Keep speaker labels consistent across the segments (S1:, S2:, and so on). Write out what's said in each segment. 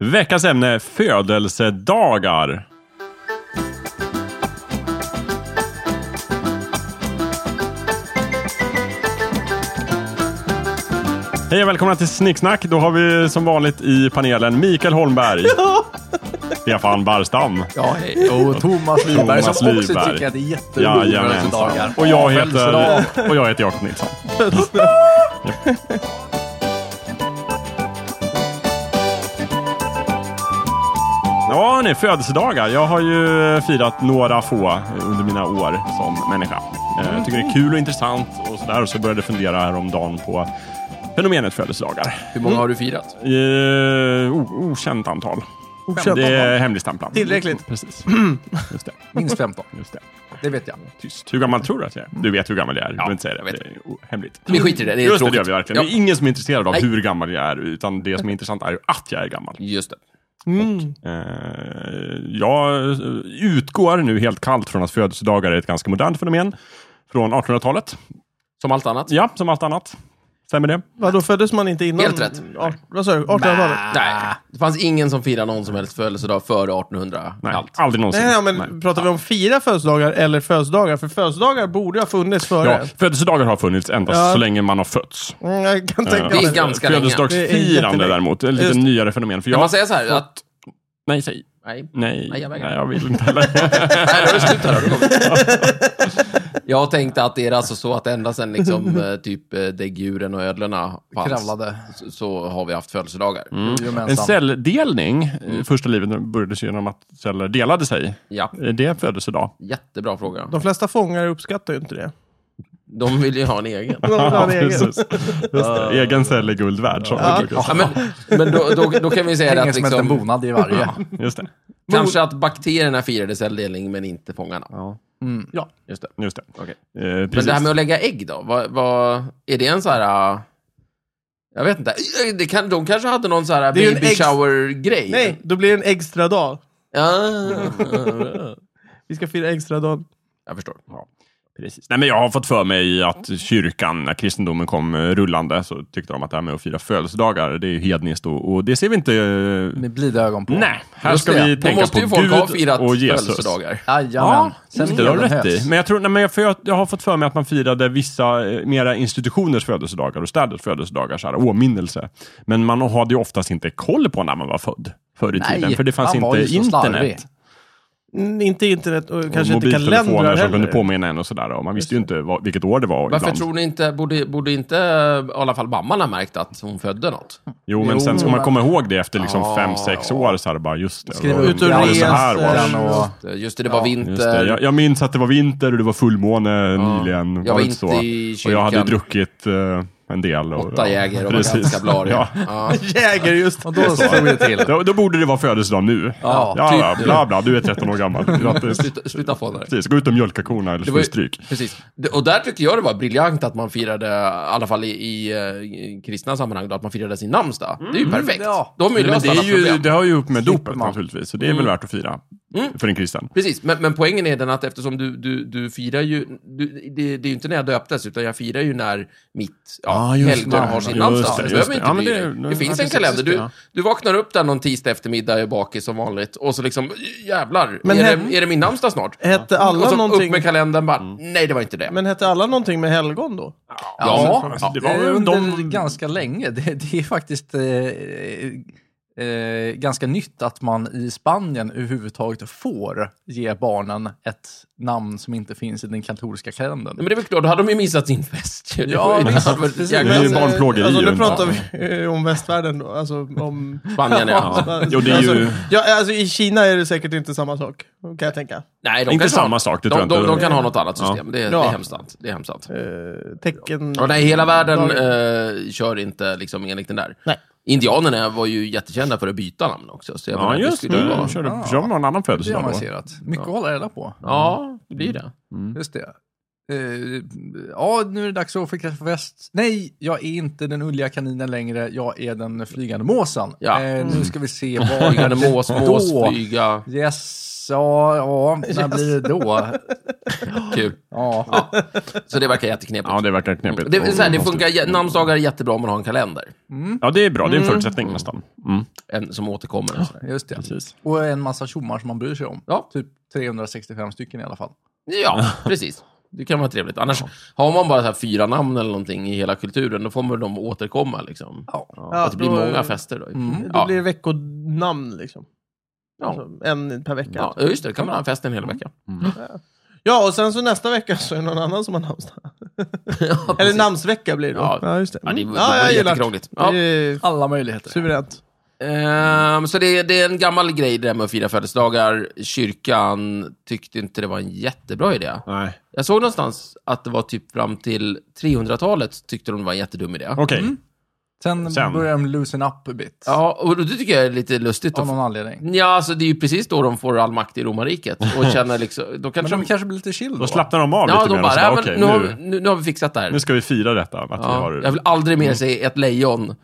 S1: Veckans ämne födelsedagar. Hej och välkomna till Snicksnack. Då har vi som vanligt i panelen Mikael Holmberg, Stefan Barstam
S2: Ja, hej. och Thomas Lyberg
S1: Thomas
S2: som också
S1: Lyberg.
S2: tycker att det är jätteroligt med dessa dagar.
S1: Jajamensan. Och jag
S2: Födelsedag.
S1: heter, och jag heter Jakob Nilsson. Ja. Ja, hörni, födelsedagar. Jag har ju firat några få under mina år som människa. Eh, Jag tycker det är kul och intressant och sådär. Och så började jag fundera häromdagen på fenomenet födelsedagar.
S2: Hur många har du firat?
S1: Eh, o- okänt antal.
S2: Okänt
S1: det är
S2: antal.
S1: hemligstämplat.
S2: Tillräckligt.
S1: Precis. Just det.
S2: Minst 15,
S1: Just det.
S2: det vet jag.
S1: Tyst. Hur gammal tror du att jag är? Du vet hur gammal jag är. Du behöver inte säga det.
S2: jag vet.
S1: Det är o- hemligt.
S2: Vi skiter i det, det är
S1: Just det,
S2: tråkigt.
S1: det gör vi verkligen.
S2: Ja.
S1: Det är ingen som är intresserad av
S2: Nej. Mm.
S1: hur gammal jag är, utan det som är intressant är ju att jag är gammal.
S2: Just det.
S1: Eh, jag eh, utgår nu helt kallt från att födelsedagar är ett ganska modernt fenomen. Från 1800-talet.
S2: Som allt annat.
S1: Ja, som allt annat. Stämmer det?
S3: Vadå, föddes man inte innan?
S2: Helt rätt.
S3: Ja, vad sa du? 1800-talet?
S2: Nej, det fanns ingen som firade någon som helst födelsedag före 1800.
S1: Nej,
S2: Allt.
S1: aldrig någonsin.
S3: Nej, men pratar vi om fira födelsedagar eller födelsedagar? För födelsedagar borde ha funnits
S1: Ja,
S3: före.
S1: födelsedagar har funnits endast
S3: Ja.
S1: så länge man har fötts.
S3: Mm, jag kan tänka
S2: Det är
S3: mig.
S2: ganska länge.
S3: Det är
S1: Födelsedagsfirande
S3: jättelänge.
S1: däremot, är ett lite
S3: Just det.
S1: nyare fenomen. För
S2: Kan
S1: jag...
S2: man säga så här att...
S1: Nej, säg.
S2: Nej.
S1: Nej,
S2: Nej, jag
S1: nej,
S2: vägrar.
S1: jag vill inte heller.
S2: Nej, då är det slut här. då. Jag tänkte att det är alltså så att ända sedan liksom, eh, typ eh, däggdjuren och ödlorna fanns,
S4: Kravlade.
S2: så- så har vi haft födelsedagar. Mm.
S1: En
S4: Jojomensan.
S1: celldelning, eh, första livet började genom att celler delade sig.
S2: Ja,
S1: Är det födelsedag?
S2: jättebra fråga.
S3: De flesta fångar uppskattar ju inte det.
S2: De vill ju ha en egen. Ah.
S3: De vill ha en egen.
S1: precis. Just det. Egen cell är guld värd. Så.
S3: Ja.
S2: Ja, men men då, då, då kan vi säga det
S4: Hänger
S2: att
S4: som en
S2: liksom,
S4: bonad i varje.
S1: Just det.
S2: kanske att bakterierna firade celldelning men inte fångarna.
S1: Ja.
S2: Ja, just det.
S1: Just det.
S2: Okej.
S1: Eh,
S2: Men
S1: precis.
S2: det här med att lägga ägg då? Vad, vad, är det en så här... äh, Jag vet inte. Det kan, de kanske hade någon så här
S3: Det är ju en
S2: baby
S3: äggs-
S2: shower-grej. Ah.
S3: Nej, då blir det en extra dag.
S2: Ja,
S3: Vi ska fira extra dag.
S2: jag förstår. Ja.
S1: Precis. Nej, men jag har fått för mig
S2: Mm.
S1: att kyrkan, när kristendomen kom eh, rullande, så tyckte de att det här med att fira födelsedagar, det är ju hedniskt och, och det ser vi inte... eh,
S4: Med blida ögon på.
S1: Nej, här
S2: Just
S1: ska
S2: det.
S1: vi
S2: Då
S1: tänka
S2: måste ju
S1: på
S2: folk ha
S1: Gud
S2: firat
S1: och Jesus.
S2: födelsedagar.
S4: Jajamän.
S1: Ja, just det, det har du rätt i. Men jag, tror, nej, men jag, för jag, jag har fått för mig att man firade vissa eh, mera institutioners födelsedagar och städers födelsedagar, så här, åminnelse. Men man hade ju oftast inte koll på när man var född förr i tiden, för det fanns
S4: han var
S1: inte
S4: ju så slarvig.
S1: internet.
S3: Mm, inte internet och
S1: Och
S3: kanske inte
S1: mobiltelefoner
S3: kalendrar
S1: som kunde
S3: heller.
S1: påminna en och sådär. Och man visste ju inte vad, vilket år det var
S2: Varför
S1: ibland.
S2: tror ni inte, borde, borde inte äh, i alla fall mamman ha märkt att hon födde något?
S1: Jo, men
S4: Jo,
S1: sen ska man
S4: men-
S1: komma ihåg det efter liksom
S2: Ja,
S1: fem, sex
S2: ja.
S1: år. Så här, bara, just det,
S4: Skriva eh,
S1: då-
S4: ut
S1: då
S4: ur
S1: var det så här
S3: reser.
S1: var det.
S4: Den och...
S2: Just det, det var
S4: Ja,
S1: Just det.
S2: vinter.
S1: Jag, jag minns att det var vinter och det var fullmåne nyligen.
S2: Jag var
S1: det
S2: inte
S1: så?
S2: i kyrkan.
S1: Och jag hade druckit eh, en del. Och,
S2: Åtta jäger och var
S1: precis.
S2: ganska blarig.
S1: Ja.
S2: Ja.
S3: Jäger just.
S4: Och då slog det till.
S1: Då, då borde det vara födelsedag nu.
S4: Ja,
S1: ja
S2: typ.
S1: bla bla, du är 13 år gammal. Grattis.
S2: Sluta, sluta få det.
S1: Precis, gå ut och mjölka korna eller
S2: Det
S1: så
S2: var
S1: får
S2: ju-
S1: du stryk.
S2: Precis. Det- Och där tycker jag det var briljant att man firade, i alla fall i, i, eh, i kristna sammanhang, då, att man firade sin namnsdag. Det är ju perfekt.
S4: Ja.
S2: Då har man ju
S1: Mm, Men
S2: löst
S1: det,
S2: alla
S1: är ju,
S2: problem. Mm.
S1: det har ju upp med dopet Mm.
S4: man.
S1: naturligtvis, så det är väl värt att fira för en kristen.
S2: Precis, men, men poängen är den att eftersom du, du, du firar ju, du, det, det är ju inte när jag döptes, utan jag firar ju när mitt ja,
S1: Ah, just
S2: helgon
S1: det.
S2: har sin
S1: Just
S2: namnsdag.
S1: det,
S2: Det,
S1: just
S2: behöver
S1: det.
S2: inte
S1: Ja,
S2: bli
S1: men det-
S2: det,
S1: det-
S2: det,
S1: ja,
S2: finns en
S1: precis,
S2: kalender.
S1: just det,
S2: Du,
S1: ja.
S2: du vaknar upp där någon tisdag eftermiddag, är bakis som vanligt, och så liksom, jävlar,
S3: Men
S2: är,
S3: hem-
S2: det, är det min namnsdag snart?
S3: Hette
S2: och
S3: alla
S2: så
S3: någonting...
S2: upp med kalendern bara,
S1: Mm.
S2: nej det var inte det.
S3: Men hette alla någonting med helgon då?
S2: Ja,
S4: Ja,
S1: ja.
S4: det var under
S1: de-
S4: ganska länge. Det, det är faktiskt eh, eh, ganska nytt att man i Spanien överhuvudtaget får ge barnen ett namn som inte finns i den katolska kalendern.
S2: Nej, men det är väl klart, då hade de ju missat sin fest ju. Det
S4: Ja,
S2: var ju-
S4: visst,
S2: det var ett
S4: precis.
S2: jäkla-
S1: Det är ju
S3: Men, eh,
S1: barnplågeri
S3: Alltså,
S1: ju
S3: nu
S1: inte.
S3: pratar vi eh, om västvärlden då. Alltså om...
S2: Spanien, ja.
S1: Jo, det är ju-
S3: Alltså, ja, alltså, I Kina är det säkert inte samma sak, kan jag tänka.
S2: Nej, de
S1: Inte
S2: kanske
S1: samma
S2: har,
S1: sak, det
S2: de,
S1: tror jag
S2: de,
S1: inte.
S2: de kan ha något annat system. Det, är- det
S3: Ja.
S2: är hemskt sant. Det är hemskt sant.
S3: Eh, tecken...
S2: Och nej, hela världen
S3: Dagar.
S2: eh, kör inte liksom enligt den där.
S3: Nej.
S2: Indianerna var ju jättekända för att byta namn också. Så jag
S1: Ja,
S2: menar, det
S1: just
S2: skulle
S1: det.
S2: ju vara-
S1: De körde,
S4: Ja.
S1: körde någon annan
S4: Det har
S1: födelsedag då?
S4: man sett. Mycket att hålla reda på.
S2: Ja, det blir det.
S4: Just det. eh, ja, nu är det dags att skicka på väst. Nej, jag är inte den ulliga kaninen längre. Jag är den flygande måsan.
S2: Ja. Mm.
S4: Eh, nu ska vi se vad
S2: Flygande mås, mås,
S4: Då.
S2: flyga.
S4: Yes, ja, ja, när blir det då?
S2: Kul.
S4: Ja.
S2: Ja. Så det verkar jätteknepigt.
S1: Ja, det verkar knepigt. Mm.
S2: Det, är så här, det funkar, jä- namnsdagar är jättebra om man har en kalender.
S1: Ja, det är bra. Det är en förutsättning nästan. Mm.
S2: En som återkommer. Och sådär.
S4: Just det. Och en massa tjommar som man bryr sig om.
S2: Ja.
S4: Typ 365 stycken i alla fall.
S2: ja, precis. Det kan vara trevligt. Annars har man bara så här fyra namn eller någonting i hela kulturen, då kommer de återkomma. Liksom.
S4: Ja.
S3: Ja,
S2: att det blir
S3: då-
S2: många fester då.
S4: Mm.
S3: Då
S2: Ja.
S3: blir det veckonamn liksom.
S2: Ja.
S3: Alltså, en per vecka.
S2: Ja,
S3: Ja.
S2: just det. Då kan man ha en fest en hel vecka.
S3: och sen så nästa vecka så är det någon annan som har namnsdag.
S2: Ja,
S3: Eller
S2: precis.
S3: namnsvecka blir det då.
S2: Ja.
S3: just det.
S2: Ja, det,
S3: Mm.
S2: det var
S3: jag gillar
S2: jättekrångligt.
S3: det.
S2: Ja.
S3: Det är
S4: Alla möjligheter.
S3: suveränt.
S2: Ehm, så det, det är en gammal grej det där med att fira födelsedagar. Kyrkan tyckte inte det var en jättebra idé.
S1: Nej.
S2: Jag såg någonstans att det var typ fram till 300-talet tyckte de det var en jättedum idé.
S1: Okej.
S4: Sen,
S1: Sen.
S4: börjar de loosen up a bit.
S2: Ja, och det tycker jag är lite lustigt.
S4: Av
S2: Att
S4: någon anledning.
S2: Ja, alltså det är ju precis då de får all makt i romarriket och känner liksom... Då
S4: Men
S2: kanske
S4: de
S2: de...
S4: kanske blir lite chill då.
S1: Då slappnar de av
S2: Ja,
S1: lite
S2: de
S1: mer. och
S2: bara,
S1: så
S2: "Ja,
S1: bara,
S2: men
S1: okej,
S2: nu, har vi-
S1: nu,
S2: nu, nu har vi fixat det här.
S1: nu ska vi fira detta. Att vi Mm.
S2: Ja,
S1: har...
S2: jag vill aldrig mer se ett lejon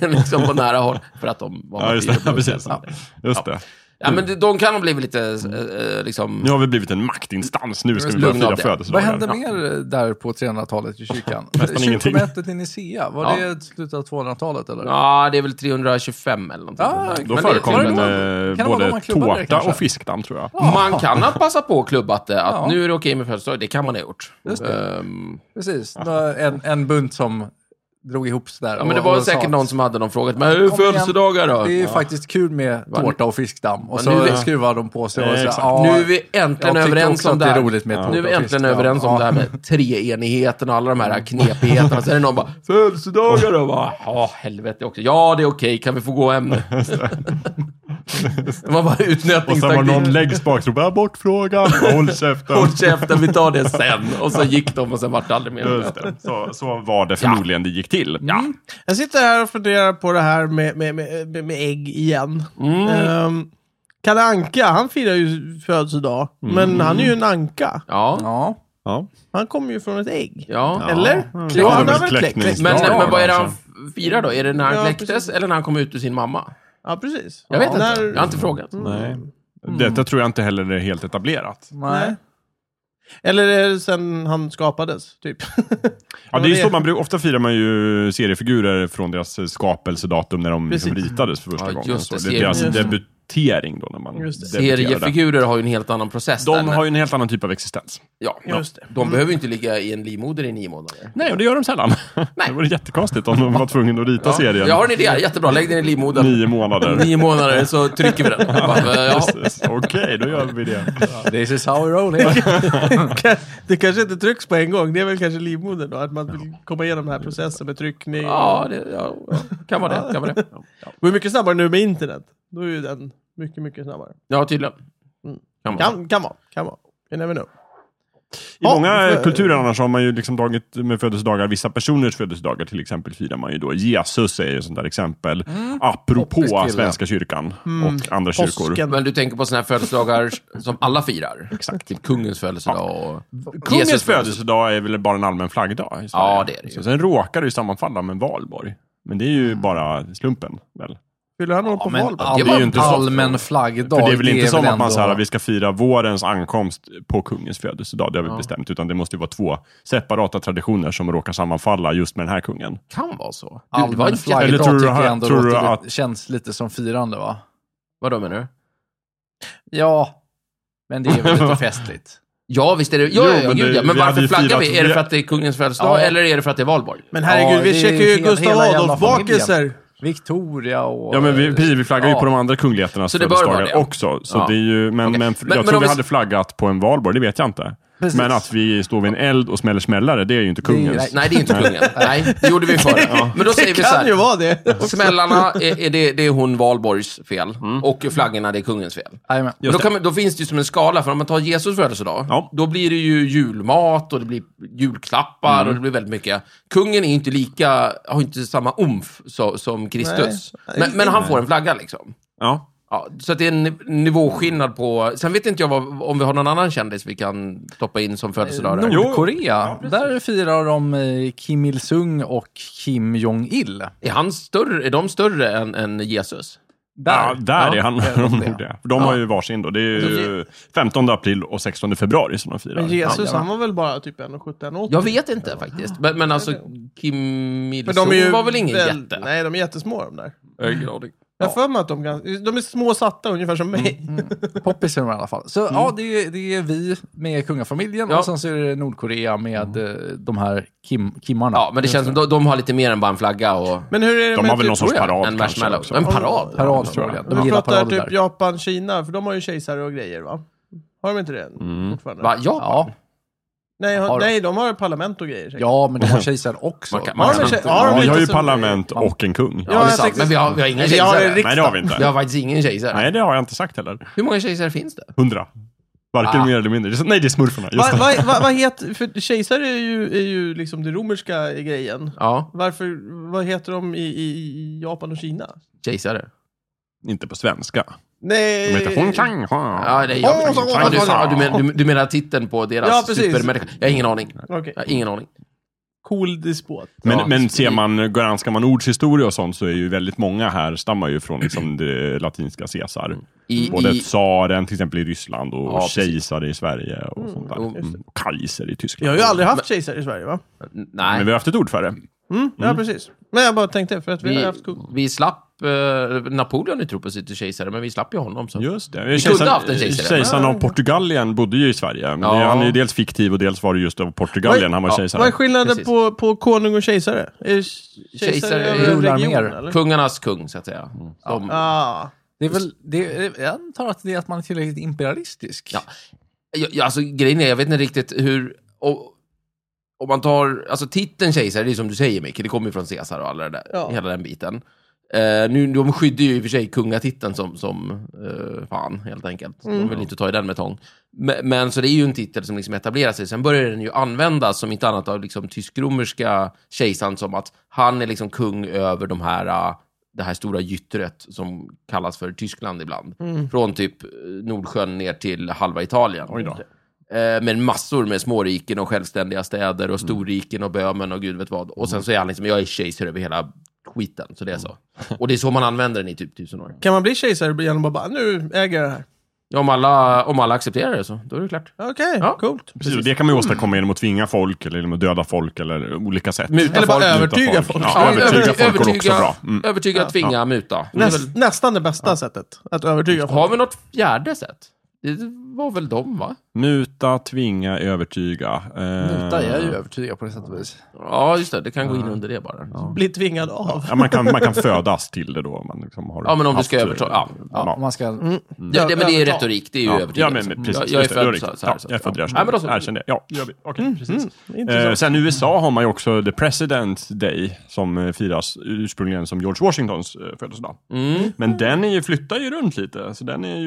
S2: liksom på nära håll för att de var
S1: Ja, just
S2: martyrer
S1: det.
S2: på
S1: Ja,
S2: något
S1: precis. Mm.
S2: sätt. Ja.
S1: Just det.
S2: Ja, men de- de kan ha blivit lite,
S1: Mm.
S2: eh, liksom...
S1: Nu har vi blivit en maktinstans. Nu ska vi börja
S2: Lugna
S1: fira
S2: av det.
S1: födelsedagar.
S4: Vad hände mer där på 300-talet i kyrkan?
S1: Nästan ingenting.
S4: Kyrkomötet i Nicea, var
S2: Ja.
S4: det slutet av 200-talet eller?
S2: Ja, det är väl 325 eller någonting.
S4: Ja,
S2: sånt där.
S1: Då
S2: Men
S1: förekom
S2: det,
S4: det
S1: den
S4: var-
S1: eh,
S4: kan det vara de
S1: både
S4: man klubbade det,
S1: tårta
S4: kanske?
S1: och fiskdamm, tror jag.
S2: Man kan ha passat på och klubbat det, att
S4: Ja.
S2: nu är det okej med födelsedag. Det kan man ha gjort. Ehm,
S4: Precis, Det var en, en bunt som drog ihop sådär.
S2: ja, men det var säkert någon som hade någon fråga. Men hur är
S4: Kom igen.
S2: födelsedagar då?
S4: Det är ju faktiskt kul med tårta och fiskdamm. Och så
S2: nu-
S4: skruvar de på sig och
S1: Eh,
S4: så,
S1: exakt.
S4: ja,
S2: Nu är vi äntligen
S4: jag tycker
S2: överens
S4: också
S2: om
S4: att
S2: det
S4: det är
S2: här.
S4: roligt med tårta
S2: Nu är vi
S4: och
S2: äntligen
S4: fiskdamm.
S2: överens om
S4: Ja.
S2: det här med treenigheten och alla de här knepigheterna. Sen är det någon bara, födelsedagar då? Bara, Ja, helvete också. Ja, det är okej. Kan vi få gå hem nu? Det var bara
S1: Och sen var någon
S2: utnötningstaktik.
S1: längst bak som bara, bort frågan, håll käften.
S2: Håll käften, vi tar det sen. Och så gick de och sen vart det aldrig mer.
S1: Just det. Så, så var det förmodligen det gick till.
S2: Ja,
S3: Jag sitter här och funderar på det här med, med, med, med, med ägg igen.
S2: Mm.
S3: Ehm, Kalle Anka, han firar ju födelsedag.
S2: Mm.
S3: Men han är ju en anka.
S2: ja,
S4: Ja.
S1: Ja.
S3: Han kommer ju från ett ägg.
S2: ja.
S3: Eller?
S1: Ja.
S3: Jo, han har väl
S1: Kläckning.
S3: kläckt.
S2: Men,
S1: Ja,
S2: men vad är det han
S1: alltså.
S2: firar då? Är det när han
S3: Ja,
S2: kläcktes
S3: precis.
S2: eller när han kom ut ur sin mamma?
S3: Ja, precis.
S2: Jag vet
S3: När-
S2: inte. Jag har inte frågat.
S1: Nej. Mm. Detta tror jag inte heller är helt etablerat.
S4: Nej.
S3: Eller är det sen han skapades, typ.
S1: Ja,
S3: Ja,
S1: det är
S3: det-
S1: så man brukar, ofta firar man ju seriefigurer från deras eh, skapelsedatum när de liksom
S3: Precis.
S1: ritades för första
S2: Ja,
S1: gången.
S2: just
S1: Så
S2: det,
S1: det är deras
S3: seriefigurer.
S1: debutering då när man
S3: Just det.
S1: debuterade.
S2: Seriefigurer har ju en helt annan process. där,
S1: De
S2: men-
S1: har ju en helt annan typ av existens.
S2: Ja,
S3: Just det.
S2: De behöver ju inte ligga i en livmoder i nio månader.
S1: Nej, och det gör de sällan. Det vore jättekonstigt om de var tvungna att rita
S2: Ja.
S1: serien
S2: Jag har en idé, jättebra. Lägg den i livmodern.
S1: nio månader.
S2: Nio månader så trycker vi den. Bara, ja.
S1: Precis. Okej, då gör vi det.
S4: This is how we roll here.
S2: Mm.
S3: det kanske inte trycks på en gång. Det är väl kanske livmodern då, att man vill komma igenom den här processen med tryckning.
S2: Ja, det ja, kan vara det. Kan vara det.
S3: Det går mycket snabbare nu med internet. Då är ju den mycket, mycket snabbare.
S2: Ja, tydligen. Kan man.
S3: Kan, kan vara, kan vara. You never know.
S1: I
S3: Ja,
S1: många
S3: för-
S1: kulturer annars har man ju liksom dragit med födelsedagar, vissa personers födelsedagar till exempel firar man ju då. Jesus är ju ett sånt där exempel.
S2: Mm.
S4: Poppis
S1: Apropå
S4: kille.
S1: Svenska kyrkan och andra kyrkor.
S3: Påsken.
S2: Men du tänker på sådana här födelsedagar som alla firar?
S1: Exakt.
S2: Typ kungens födelsedag och...
S1: Kungens
S2: Jesus
S1: födelsedag är väl bara en allmän flaggdag i Sverige?
S2: Ja, det är det ju.
S1: Så
S2: Mm.
S1: Sen råkar det ju sammanfalla med valborg. Men det är ju bara slumpen. Väl?
S3: Fyller han år på
S4: Men
S3: valborg?
S4: all,
S2: Det var ju
S1: inte så-
S4: allmän flaggdag.
S1: För det är väl inte som att man
S4: ändå-
S1: så här, vi ska fira vårens ankomst på kungens födelsedag, det har vi bestämt. Utan det måste ju vara två separata traditioner som råkar sammanfalla just med den här kungen.
S2: kan vara så. Du, det var
S4: Allmän
S2: en flagg...
S1: Eller
S4: flaggdag
S1: tror du
S4: tycker
S1: här-
S4: jag ändå
S1: tror du
S4: låter,
S1: att-
S4: lite- känns lite som firande va?
S2: Vadå menar du?
S4: Ja, men det är väl lite festligt.
S2: Ja, visst är det... Ja,
S1: Jo,
S2: ja,
S1: men
S2: men,
S1: det-
S2: gud, ja.
S1: vi
S2: men varför
S1: hade ju
S2: flaggar
S1: firat-
S2: vi? Är det
S1: vi-
S2: för att det är kungens födelsedag
S4: Ja.
S2: eller är det för att det är valborg?
S3: Men herregud,
S4: Ja,
S3: vi
S4: det är
S3: checkar
S4: ju
S3: ju
S4: hela-
S3: Gustav
S4: hela jävla
S3: Adolf-bakelser.
S4: Victoria och...
S1: Ja, men vi, precis, vi flaggar ju
S4: Ja.
S1: på de andra kungligheternas
S2: Så det bör
S1: födelsedagar
S2: vara det.
S1: också. Så
S2: Ja.
S1: det är ju, men, men
S2: Okej. Men- men
S1: jag tror
S2: om
S1: vi
S2: vi-
S1: hade flaggat på en valborg, det vet jag inte.
S4: Precis.
S1: Men att vi står vid en eld och smäller smällare, det är ju inte
S4: är ju-
S1: kungens.
S2: Nej, nej, det är inte kungen. Nej, det gjorde vi förr. Men då säger
S3: Det
S2: vi så
S3: kan ju
S2: här.
S3: vara det.
S2: Smällarna, är, är det, det är hon Valborgs fel. Och flaggorna, det är kungens fel.
S4: Jajamän.
S2: Då, kan man, då finns det ju som en skala, för om man tar Jesus födelsedag,
S1: Ja.
S2: då blir det ju julmat och det blir julklappar och det blir väldigt mycket. Kungen är ju inte lika, har ju inte samma omf så, som Kristus.
S3: Nej.
S2: Men, men han får en flagga liksom.
S1: Ja.
S2: Ja, så att det är en niv- nivåskillnad på... Sen vet inte jag vad, om vi har någon annan kändis vi kan stoppa in som födelsedag.
S4: Eh,
S2: där.
S1: Jo.
S4: Nordkorea, där firar de eh, Kim Il-Sung och Kim Jong-Il.
S2: Är, han större, är de större än, än Jesus?
S4: Där,
S1: Ja, där är han. De, nog det. För de
S2: Ja.
S1: har ju varsin då. Det är ju 15 april och 16 februari som de firar.
S3: Men Jesus,
S2: ja.
S3: han var väl bara typ 1,70-1,80?
S2: Jag vet inte faktiskt. Men, men alltså, Kim
S3: Men
S2: Il-Sung
S3: de är ju
S2: var väl ingen
S3: väl-
S2: jätte?
S3: Nej, de är jättesmå de där.
S2: Jag är glad.
S3: Jag har för mig att de, gans- de är små satta, ungefär som mig.
S4: Poppis är de i alla fall. Så ja, det är, det är vi med kungafamiljen
S2: Mm. Ja. Mm.
S4: och sen så är det Nordkorea med eh, de här Kim, Kimmarna.
S2: Ja, men det känns som de, de har lite mer än bara en flagga och
S3: Men hur är det
S1: De
S3: med
S1: har väl någon
S3: typ,
S1: sorts
S2: tror jag,
S1: parad
S2: en
S1: kanske
S2: marshmallow.
S1: också.
S2: En parad.
S4: Parad tror jag. De
S3: de
S4: gillar
S3: pratar
S4: parader
S3: typ
S4: där.
S3: Japan, Kina, för de har ju kejsare och grejer va? Har de inte det än? fortfarande?
S2: Va, ja.
S4: Ja,
S3: Nej, har,
S4: Har de?
S3: nej, de har parlament och grejer. säkert.
S4: ja, men de har kejsaren också.
S2: Man kan-
S3: Har de
S2: men
S3: en tjej-
S2: inte-
S3: har de
S1: Ja, vi
S3: inte
S1: har ju
S3: så-
S1: parlament och en kung.
S2: Ja, det är
S3: jag
S2: sant.
S3: tänkte-
S2: Men vi har, vi har inga
S3: Vi har en
S2: kejsare.
S1: Nej, det har vi
S2: Vi
S1: inte.
S2: har faktiskt ingen kejsare.
S1: Nej, det har jag inte sagt heller.
S2: Hur många kejsare finns det?
S1: Hundra. Varken
S2: Ah.
S1: mer eller mindre. Det är så- Nej, det är smurfarna. Just
S3: Va-
S1: det.
S3: va- va- Vad heter... För kejsare är ju, är ju liksom det romerska i grejen.
S2: Ja,
S3: Varför... Vad heter de i, i, i Japan och Kina?
S2: kejsare.
S1: Inte på svenska.
S3: Nej...
S1: De heter Hong Kang.
S2: Ja, det är jag.
S3: Åh, så-
S2: Ja, du, ja, du, men, du, du menar titeln på deras
S3: Ja, precis.
S2: supermänniska? Jag har ingen aning.
S3: Okej.
S2: Jag har ingen aning.
S3: Cool despot.
S1: Men,
S2: Ja.
S1: men ser man, granskar man ordshistoria och sånt så är ju väldigt många här stammar ju från liksom det latinska Caesar.
S2: I,
S1: Både
S2: i,
S1: tsaren till exempel i Ryssland och
S2: Ja, precis.
S1: kejsare i Sverige och sånt där.
S2: Mm, just
S1: Mm. Och kaiser i
S3: Vi
S1: Tyskland.
S3: har ju aldrig haft kejsare i Sverige va?
S1: Men
S2: nej,
S1: vi har haft ett ord för det.
S3: Mm, ja, precis. Men jag bara tänkte, för att vi, har
S2: vi,
S3: haft kung.
S2: vi slapp... Eh, Napoleon utropade sig till kejsare, men vi slapp ju hohonom. Så.
S1: Just det.
S2: kunde haft en kejsare.
S1: Kejsaren av Portugalien bodde ju i Sverige. Men det-
S2: Ja.
S1: Han är ju dels fiktiv och dels var det just av Portugalien
S3: Vad-
S1: han var
S2: ja,
S1: kejsare.
S3: Vad är skillnaden
S2: Precis.
S3: på, på konung och kejsare? Är
S2: Kejsare
S3: kejsare över en
S4: rular
S3: region
S4: mer.
S3: eller? Mm.
S2: Kungarnas kung, så att säga. De,
S3: Ah.
S4: Det är väl, det är, jag antar att det är att man är tillräckligt imperialistisk.
S2: Ja. Jag, jag, alltså, grejen är, jag vet inte riktigt hur... Och, om man tar, alltså titeln kejsare, det är som du säger Micke, det kommer ju från Caesar och alla det där,
S3: Ja.
S2: hela den biten. Eh, nu, de skydde ju i och för sig kungatiteln som, som eh, fan, helt enkelt.
S1: Mm.
S2: De vill inte ta i den med tång. Men, men så det är ju en titel som liksom etablerar sig. Sen börjar den ju användas som inte annat av liksom tysk-romerska kejsaren som att han är liksom kung över de här, eh, det här stora gyttret som kallas för Tyskland ibland. Från typ eh, Nordsjön ner till halva Italien.
S1: Mm. Oj då.
S2: Eh, Men massor med småriken och självständiga städer
S1: Mm.
S2: och storriken och Böhmen och gud vet vad. Och sen så är han liksom, jag är kejsare över hela skiten. Så det
S1: Mm.
S2: är så. Och det är så man använder den i typ tusen år.
S3: Kan man bli kejsare genom att bara, nu äger jag det här?
S2: Ja, om, alla, om alla accepterar det så, då är det klart.
S3: Okej,
S2: Ja.
S3: coolt.
S1: Precis, och det kan man ju åstadkomma genom att tvinga folk eller genom att döda folk eller olika sätt.
S2: Muta
S3: Eller bara
S2: folk.
S3: övertyga folk.
S1: Ja, övertyga folk går också
S2: övertyga,
S1: bra. Mm.
S2: övertyga, tvinga, muta. Det är väl-
S3: Näst, nästan det bästa sättet att övertyga folk.
S2: Har vi något fjärde sätt? Det var väl de, va?
S1: Muta, tvinga, övertyga. Eh,
S4: Muta är ju övertygad på det sättet och vis.
S2: Ja, just det. Det kan gå in under det bara. Ja,
S3: Bli tvingad av.
S1: Ja, man, kan, man kan födas till det då. om Man liksom har
S2: Ja, men om du ska
S1: haft,
S2: överta-
S1: eh,
S2: ja.
S4: Ja, om man ska,
S2: det, men det är
S3: övertag.
S2: retorik. Det är ju
S1: Ja, ja,
S2: övertygelse.
S1: men, men, precis.
S2: jag, jag är
S1: Just det, du har
S2: född så,
S1: rätt.
S2: så här.
S1: Ja,
S2: så.
S1: jag är född
S2: ja.
S1: där.
S2: Nej, men då så. Mm.
S1: Erkänn det. Ja, gör vi. Okej, precis. Eh,
S3: Intressant.
S1: sen i USA har man ju också The President Day som eh, firas ursprungligen som George Washingtons eh, födelsedag.
S2: Mm.
S1: Men den är ju, flyttar ju runt lite, så den är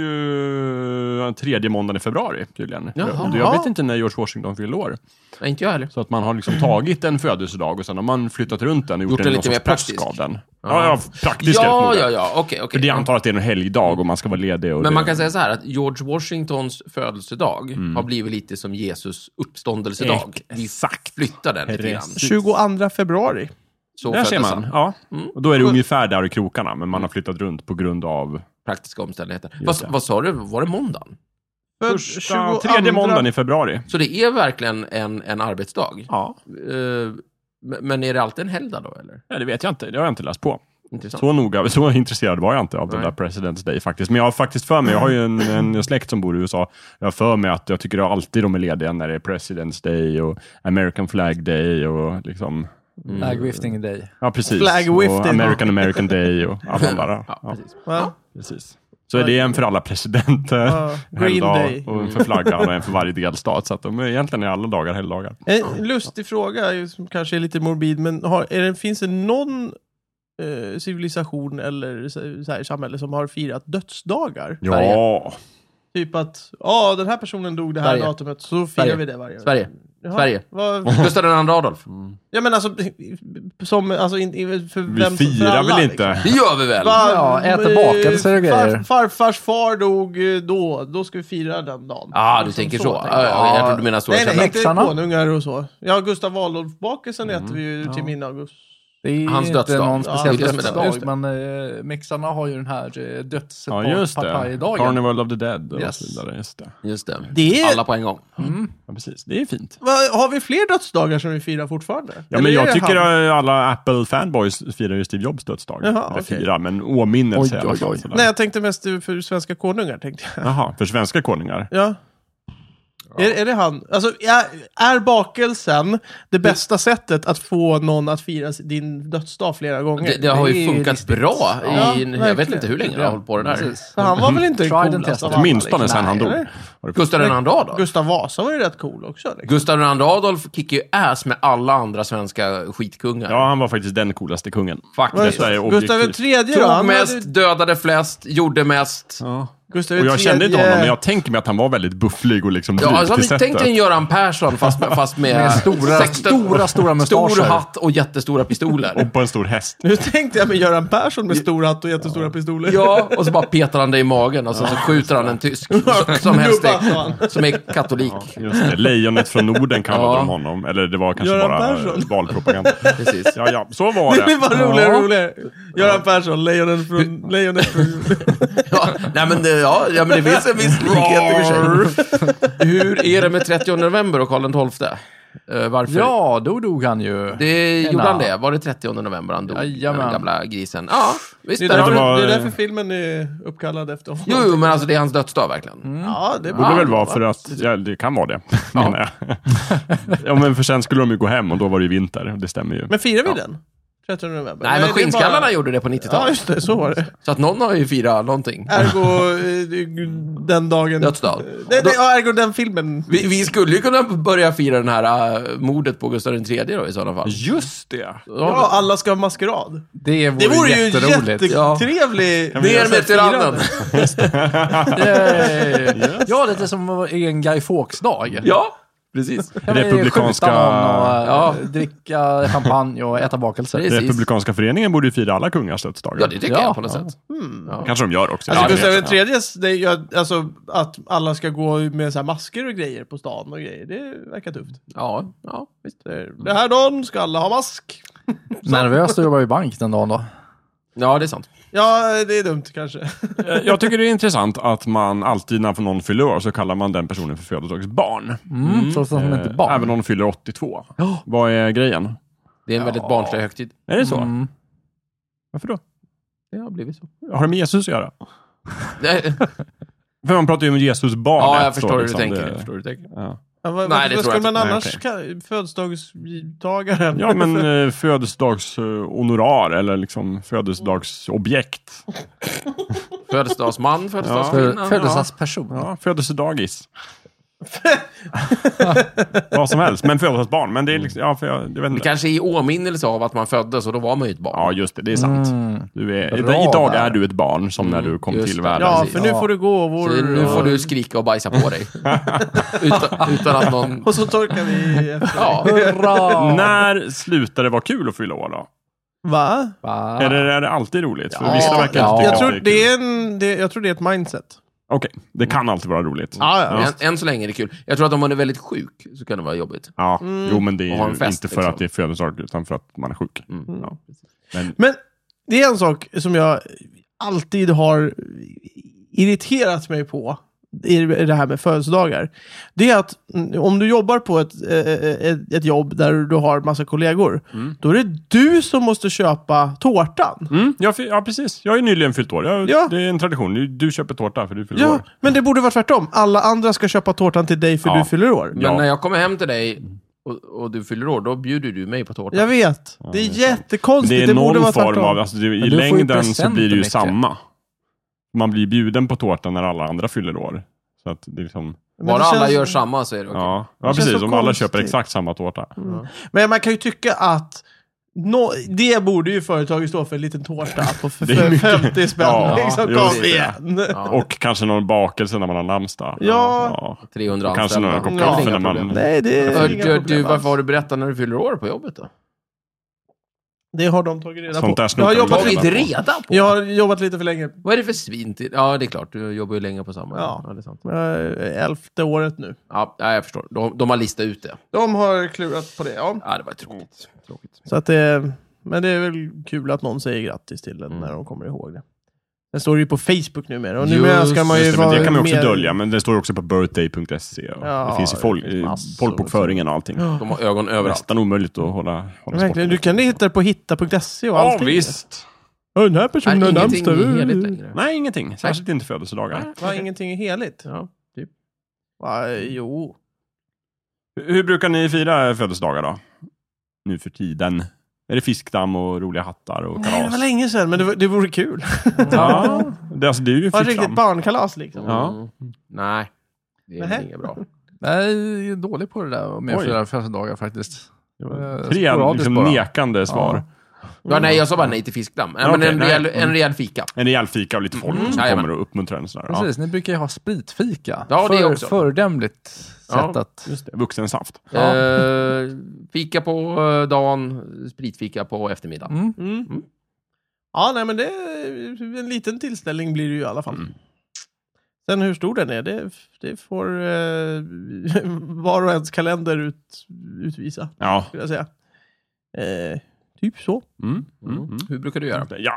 S1: ju eh, tredje måndagen i februari tydligen.
S2: Jaha.
S1: Jag, jag vet inte när George Washington fyllde år.
S2: Nej, inte jag heller.
S1: Så att man har liksom tagit en födelsedag och sen har man flyttat runt den och gjort,
S2: Gjort
S1: en
S2: den
S1: någon
S2: lite mer
S1: sorts
S2: praktisk.
S1: påsk av den. Ja, ja praktisk är det
S2: Ja,
S1: förmodligen.
S2: ja, ja. Okej, okej.
S1: För det jag antar att det är en helgdag och man ska vara ledig. Och
S2: Men
S1: det...
S2: man kan säga så här att George Washingtons födelsedag har blivit lite som Jesus uppståndelsedag. Vi
S1: Exakt.
S2: flyttar den lite grann.
S3: 22 februari.
S2: Så
S1: Där ser
S2: föddes
S1: man.
S2: han. Mm.
S1: Ja. Och då är det ungefär där i krokarna, men man har flyttat runt på grund av
S2: Praktiska omständigheter.
S1: det.
S2: Vad, vad sa du? Var det måndagen?
S3: Född
S1: första, tredje måndagen i februari.
S2: Så det är verkligen en, en arbetsdag?
S1: Ja.
S2: Eh, men- men är det alltid en helgdag då, eller?
S1: ja, det vet jag inte. Det har jag inte läst på.
S2: Intressant.
S1: Så noga, så intresserad var jag inte av den
S2: Nej.
S1: där President's Day faktiskt. Men jag har faktiskt för mig, jag har ju en, en släkt som bor i USA, jag har för mig att jag tycker att alltid de är lediga när det är President's Day och American Flag Day och liksom,
S4: Flag Wifting Day.
S1: ja precis.
S3: Flag
S1: och
S3: wifting.
S1: American American Day och alla de där.
S2: Ja,
S1: Ja,
S2: precis.
S3: Ja.
S1: precis. Så är det en för alla presidenter,
S3: Ja, Green
S1: helgdag,
S3: Day. Mm.
S1: och en för flaggan och en för varje delstat. Så att de är egentligen är alla dagar helgdagar.
S3: En Eh, lustig fråga ju, som kanske är lite morbid, men har, är det, finns det någon eh, civilisation eller så, så här, samhälle som har firat dödsdagar?
S1: Ja,
S2: Sverige.
S3: Typ att, ja den här personen dog det här
S2: Sverige.
S3: datumet, så firar
S2: Sverige.
S3: vi det varje år.
S2: Sverige.
S3: Jaha,
S2: Sverige.
S3: Vad,
S2: Gustav II Adolf.
S3: ja men alltså, som, alltså in, i- för
S1: Vi
S3: vem som- för
S1: firar
S3: alla,
S1: väl
S3: liksom.
S1: inte?
S2: Det gör vi väl?
S3: Va-
S4: Ja, äter
S3: eh,
S4: bakelser och
S3: Far,
S4: grejer.
S3: farfars far dog eh, då, då ska vi fira den dagen.
S2: Ja, du
S3: Liksom
S2: tänker så.
S3: tänker
S2: Ja,
S3: jag.
S2: ja, jag tror du menar stora
S3: Nej, nej,
S2: källor.
S3: inte
S4: Läxarna?
S3: konungar och så. Ja, Gustav Adolf-bakelsen
S2: Mm.
S3: äter vi ju till min august.
S4: Det är
S2: Hans
S4: inte
S2: dödsdag.
S4: någon
S3: Ja,
S4: speciell
S2: det är det som är den.
S4: dödsdag,
S3: Just det.
S4: men eh, mexarna har ju den här eh,
S1: Ja, just det.
S4: dödspartijdagen.
S1: Carnival of the Dead och
S4: Yes.
S1: så vidare. Just det.
S2: Just det.
S3: Det är-
S2: Alla på en gång.
S1: Ja, precis. Det är fint.
S3: Va, har vi fler dödsdagar som vi firar fortfarande?
S1: Ja,
S3: Eller
S1: men
S3: är
S1: jag
S3: det
S1: tycker
S3: han?
S1: att alla Apple-fanboys firar ju Steve Jobs dödsdag.
S3: Jaha,
S1: Eller
S3: okej.
S1: firar, men åminnelse
S4: Oj,
S1: i alla
S4: oj,
S1: fall.
S4: oj.
S1: sådär.
S3: Nej, jag tänkte mest för svenska konungar. Tänkte jag.
S1: Jaha, för svenska konungar.
S3: Ja. Är, är det han? Alltså, är, är bakelsen det bästa sättet att få någon att fira din dödsdag flera gånger?
S2: Det, det har
S4: Det är
S2: ju
S4: ju
S2: funkat
S4: riktigt.
S2: bra i,
S3: Ja,
S2: jag vet
S3: verkligen.
S2: inte hur länge jag har hållit på det där.
S4: Precis.
S3: För han var väl inte den
S4: Tried and
S3: coolaste av
S4: tested.
S3: alla?
S1: Åtminstone sen han
S4: Nej,
S1: dog.
S3: eller?
S1: Har det-
S2: Gustav II Adolf.
S3: Gustav Vasa var ju rätt cool också. Liksom.
S2: Gustav II Adolf kickar ju ass med alla andra svenska skitkungar.
S1: Ja, han var faktiskt den coolaste kungen.
S2: Faktiskt.
S1: Detta är objektivt.
S3: Gustav III då?
S2: Tog
S3: Han
S2: mest,
S3: hade-
S2: dödade flest, gjorde mest. Ja,
S3: Gustav
S1: Och jag kände inte
S3: III
S1: honom, men jag tänker mig att han var väldigt bufflig och liksom dryg
S2: alltså,
S1: till
S2: tänk dig en
S1: sättet.
S2: Göran Persson fast, fast med,
S4: Med stora,
S2: 16
S4: stora, stora
S2: stor
S4: mustascher.
S2: hatt och jättestora pistoler.
S1: Och på en stor häst.
S3: Nu tänkte jag med Göran Persson med stor hatt och jättestora pistoler.
S2: Ja, och så bara petar han dig i magen och sen så skjuter han en tysk som, som helst
S3: Knubbar
S2: är, som är katolik.
S1: Just det. Lejonet från Norden kallade
S2: Ja.
S1: de honom. Eller det var kanske
S3: Göran
S1: bara eh,
S3: Persson.
S1: valpropaganda.
S2: Precis.
S1: Ja, ja, så var
S3: Det blir
S1: det.
S3: bara roligare och roligare. Göran Persson, lejonen från... Lejonet från...
S2: Ja, nej men det, ja, ja, men det finns en viss likhet i och för sig. Hur är det med 30 november och Karl XII? Eh, varför?
S4: Ja, då dog han ju.
S2: Det gjorde
S4: Ena.
S2: han det? Var det 30 november han dog?
S4: Jajamän.
S2: Den gamla grisen. Ja, visst.
S3: Det är,
S2: där har
S1: det
S3: därför,
S2: du-
S1: var-
S3: det är därför filmen är uppkallad efter honom.
S2: Jo, jo, men alltså det är hans dödsdag verkligen.
S3: Ja,
S1: borde
S3: det borde
S2: Ja.
S1: väl vara för att, ja, det kan vara det, menar jag. Ja, men för sen skulle de ju gå hem och då var det ju vinter, det stämmer ju.
S3: Men firar vi den? 13 november?
S2: Nej, men
S3: det är
S2: skinnskallarna
S3: bara-
S2: gjorde det på
S3: Ja,
S2: 90-talet.
S3: just det. Så var det.
S2: Så att någon har ju firat någonting.
S3: Ergo eh, den dagen...
S2: Dödsdag.
S3: Nej,
S2: Då-
S3: nej, ja, ergo den filmen.
S2: Vi, vi skulle ju kunna börja fira den här äh, mordet på Gustav III då i sådana fall.
S1: Just det!
S3: Ja, alla ska ha maskerad.
S4: Det vore,
S3: Det vore ju
S4: jätteroligt.
S3: jättetrevlig...
S2: Ner med tyrannen!
S4: Yay. ja, lite som en Guy Fawkes-dag.
S2: ja, precis.
S4: Kan vi
S1: Republikanska-
S4: skjuta någon och, eh,
S2: Ja.
S4: Dricka champagne och äta bakelser.
S2: Precis.
S1: Republikanska föreningen borde ju fira alla kungars dödsdagar.
S2: Ja, det tycker
S4: Ja.
S2: jag på något sätt.
S1: kanske de gör också.
S3: Alltså
S1: Ja, det vet
S3: Gustav
S1: jag.
S3: III's, det är ju att- alltså att alla ska gå med så här masker och grejer på stan och grejer, det verkar tufft.
S2: Ja, ja visst.
S3: Det, är- det här dagen ska alla ha mask.
S4: Nervöst att jobba i bank den dagen då.
S2: Ja, det är sant.
S3: Ja, det är dumt kanske.
S1: Eh, Jag tycker det är intressant att man alltid när någon fyller år så kallar man den personen för födelsedagsbarn.
S4: Mm. Trots att de inte är barn.
S1: Eh, Även om de fyller 82. Vad är grejen?
S2: Det är en väldigt barnslig högtid.
S1: Är det så?
S4: Mm.
S1: Varför då?
S2: Det har blivit så.
S1: Har det med Jesus att göra?
S2: Nej,
S1: För man pratar ju om Jesus barn.
S2: ja,
S1: ett,
S2: jag
S1: så
S2: förstår hur du
S1: liksom,
S2: tänker.
S1: det-
S2: Jag förstår hur du tänker.
S1: Ja.
S3: Ja, vad,
S2: Nej, det
S3: Nej, det vad
S2: tror
S3: ska
S2: jag
S3: man
S1: inte.
S3: annars ka- födelsedagsgivtagaren?
S1: ja, men eh, födelsedagshonorar eller liksom födelsedagsobjekt.
S2: Födelsedagsman,
S4: Fö-
S2: födelsedagskvinna.
S4: Födelsedagsperson.
S1: Ja, födelsedagis. Vad som helst, men födelsedagsbarn. Men det är liksom, ja, för jag, jag vet
S2: Det
S1: inte.
S2: kanske är i åminnelse av att man föddes och då var man ju ett barn.
S1: Ja, just det. Det är sant.
S4: Mm.
S1: Du är,
S4: Bra
S1: idag
S4: där.
S1: är du ett barn som när
S2: Mm,
S1: du kom
S2: just
S1: till
S2: det.
S1: världen.
S3: ja
S2: precis.
S3: för nu
S4: Ja.
S3: får du gå
S2: Så
S3: vår...
S2: nu får du skrika och bajsa på dig. utan, utan att någon...
S3: Och så torkar vi efter.
S2: Ja.
S4: Hurra!
S1: När slutar det vara kul att fylla år då?
S3: Va?
S4: Va?
S1: Eller är det alltid roligt? För
S2: Ja,
S1: vissa verkar
S2: ja.
S1: inte
S3: Jag
S1: tycka
S3: tror
S1: att det är
S3: det
S1: kul.
S3: är, en, det, jag tror det är ett mindset.
S1: Okej, det kan alltid vara roligt.
S3: Ja, ja.
S2: Än, än så länge är det kul. Jag tror att om man är väldigt sjuk så kan det vara jobbigt.
S1: Ja,
S3: Mm.
S1: jo men det är
S2: Och ha
S1: ju
S2: en fest,
S1: inte för
S2: liksom. Mm.
S1: att det är födelsedag utan för att man är sjuk. Ja. Men
S3: Men det är en sak som jag alltid har irriterat mig på i det här med födelsedagar. Det är att mm, om du jobbar på ett, eh, eh, ett, ett jobb där du har massa kollegor,
S2: Mm.
S3: då är det du som måste köpa tårtan.
S1: Mm, jag, fi- ja, precis. Jag har ju nyligen fyllt år. Jag,
S3: Ja.
S1: Det är en tradition. Du, du köper tårta för du fyller
S3: Ja,
S1: år.
S3: men det borde vara tvärtom. Alla andra ska köpa tårtan till dig för
S1: Ja.
S3: du fyller år.
S2: Men
S1: Ja.
S2: när jag kommer hem till dig och, och du fyller år, då bjuder du mig på tårta.
S3: Jag vet. Det är jättekonstigt.
S1: Det
S3: Det,
S1: är
S3: borde
S1: någon
S3: vara
S1: form
S3: tvärtom.
S1: av... Alltså, det, I
S4: du får ju
S1: längden så
S4: presenter
S1: blir det ju
S4: mycket.
S1: samma. Man blir bjuden på tårta när alla andra fyller år. Så att det är liksom...
S3: Men det
S2: Bara alla
S3: känns-
S2: gör samma så är det okej.
S1: Ja, ja
S3: känns
S1: precis.
S3: så
S1: Om alla
S3: konstigt.
S1: köper exakt samma tårta.
S3: Men man kan ju tycka att Nå- det borde ju företaget stå för, en liten tårta på f-
S1: Det är mycket.
S3: 50 spänn.
S1: Ja,
S3: liksom,
S1: just
S3: kom
S1: det.
S3: igen!
S2: Ja,
S1: Och kanske någon bakelse när man har namnsdag.
S3: Ja.
S2: 300
S1: Och kanske några
S2: anställda.
S1: koppar
S2: Det
S3: Ja.
S2: är
S1: kaffe när
S2: inga
S1: man...
S2: problem.
S3: Nej, det är
S2: Hör-
S3: inga
S2: du,
S3: problem
S2: du,
S3: alls.
S2: varför har du berättat när du fyller år på jobbet då?
S3: Det har de tagit reda
S1: Sånt
S3: på.
S1: där
S3: Jag har,
S1: snokar
S3: jobbat
S1: vi
S2: Tagit
S3: lite,
S1: inte.
S2: reda på?
S3: jag har jobbat lite för länge.
S2: Vad är det för svin till? Ja, det är klart. Du jobbar ju länge på samma.
S3: Ja.
S2: det är sant.
S3: Eh, Elfte året nu.
S2: Ja, nej, jag förstår. De, de har listat ut det.
S3: De har klurat på det, ja.
S2: Ja, det var tråkigt. tråkigt.
S3: Så att det, men det är väl kul att någon säger grattis till den
S2: Mm.
S3: när de kommer ihåg det. Sen står det ju på Facebook numera och numera
S2: Just
S3: ska man ju
S1: Just det, men
S3: vara
S1: det kan man ju också
S3: mer-
S1: dölja. Men det står ju också på birthday.se. E och
S3: Ja,
S1: det finns ju folk,
S3: det finns
S1: eh,
S3: massor.
S1: folkbokföringen och allting.
S2: De har ögon överallt.
S1: Nästan omöjligt att hålla, hålla
S3: Verkligen, du kan hitta det på hitta.se och
S1: Ja,
S3: allting.
S1: visst.
S3: Ja, den här
S2: Nej,
S3: personen har
S2: ingenting
S3: namnsdag.
S2: är heligt längre.
S1: Nej, ingenting. Särskilt inte födelsedagar.
S3: Va, ingenting är heligt?
S2: Ja, typ.
S3: Va, jo.
S1: Hur brukar ni fira födelsedagar då? Nu för tiden. Är det fiskdamm och roliga hattar och
S3: Nej, det
S1: kalas?
S3: var länge sedan, men det, var- det vore kul.
S1: Ja, det, alltså, det är ju
S3: Ja, riktigt
S1: fiskdamm.
S3: barnkalas liksom.
S1: Ja.
S2: Mm. Nej, det är
S3: Nähä.
S2: väl inget bra.
S4: Nej, jag är dålig på det där med
S1: Oj.
S4: fyra födelsedagar faktiskt.
S1: Det var
S4: Eh,
S1: Tre
S4: sporadiskt
S1: liksom,
S4: bara.
S1: nekande svar.
S2: Ja, nej, jag sa bara nej till fiskdamm. Nej, men
S1: Okej,
S2: en,
S1: nej.
S2: rejäl,
S1: Mm.
S2: en rejäl fika.
S1: En rejäl fika och lite folk
S2: Mm.
S1: som
S2: Jajamän.
S1: kommer och uppmuntrar en. och Sådär. Ja,
S4: Precis, ni brukar ju ha spritfika.
S2: Ja, det också.
S4: Föredömligt
S2: Ja.
S4: sätt att...
S1: just det. Vuxensaft.
S4: Ja.
S2: Eh, fika på eh, dagen, spritfika på eftermiddagen.
S4: Mm.
S3: Mm. Ja, nej men det... En liten tillställning blir det ju i alla fall.
S1: Mm.
S3: Sen hur stor den är, det, det får eh, var och ens kalender ut, utvisa,
S1: Ja.
S3: skulle jag säga. Eh, typ så.
S1: Mm. Mm. Mm.
S2: Hur brukar du göra?
S1: Ja,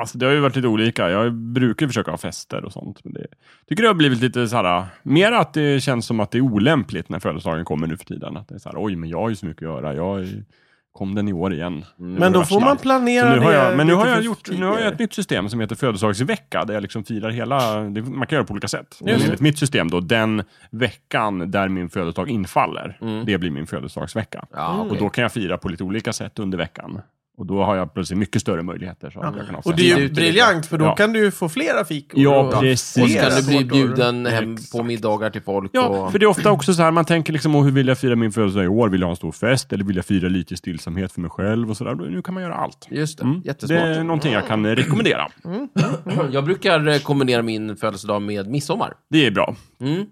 S1: alltså det har ju varit lite olika. Jag brukar försöka ha fester och sånt. Men det, tycker det har blivit lite så här, mer att det känns som att det är olämpligt när födelsedagen kommer nu för tiden. Att det är så här, oj, men jag har ju så mycket att göra. Jag är, kom den i år igen.
S3: Men då får man
S1: Så
S3: planera
S1: nu har
S3: det
S1: jag, men nu
S3: lite
S1: har jag,
S3: för
S1: gjort, nu
S3: tidigare.
S1: har jag ett nytt system som heter födelsedagsvecka, där jag liksom firar hela, det, man kan göra på olika sätt. Men
S3: Just det.
S1: enligt mitt system då, den veckan där min födelsedag infaller,
S2: Mm.
S1: det blir min födelsedagsvecka.
S2: Ja,
S3: Mm.
S2: okej.
S1: Och då kan jag fira på lite olika sätt under veckan. Och då har jag plötsligt mycket större möjligheter. Så att jag kan ha
S3: Och
S1: fest.
S3: det är
S2: Tid
S3: ju
S2: ute lite.
S3: briljant, för då
S1: Ja.
S3: kan du ju få flera fikor.
S1: Ja,
S3: och-
S1: precis.
S2: Och ska
S3: flera
S2: du bli
S3: tårtor.
S2: bjuden hem på
S1: Exakt.
S2: middagar till folk.
S1: Ja,
S2: och...
S1: för det är ofta också så här, man tänker liksom, "Åh, hur vill jag fira min födelsedag i år? Vill jag ha en stor fest? Eller vill jag fira lite i stillsamhet för mig själv? Och så där. Nu kan man göra allt.
S2: Just det,
S1: Mm. Det
S2: jättesmart.
S1: är någonting jag kan eh, rekommendera.
S2: Jag brukar eh, kombinera min födelsedag med midsommar.
S1: Det är bra.
S2: Mm.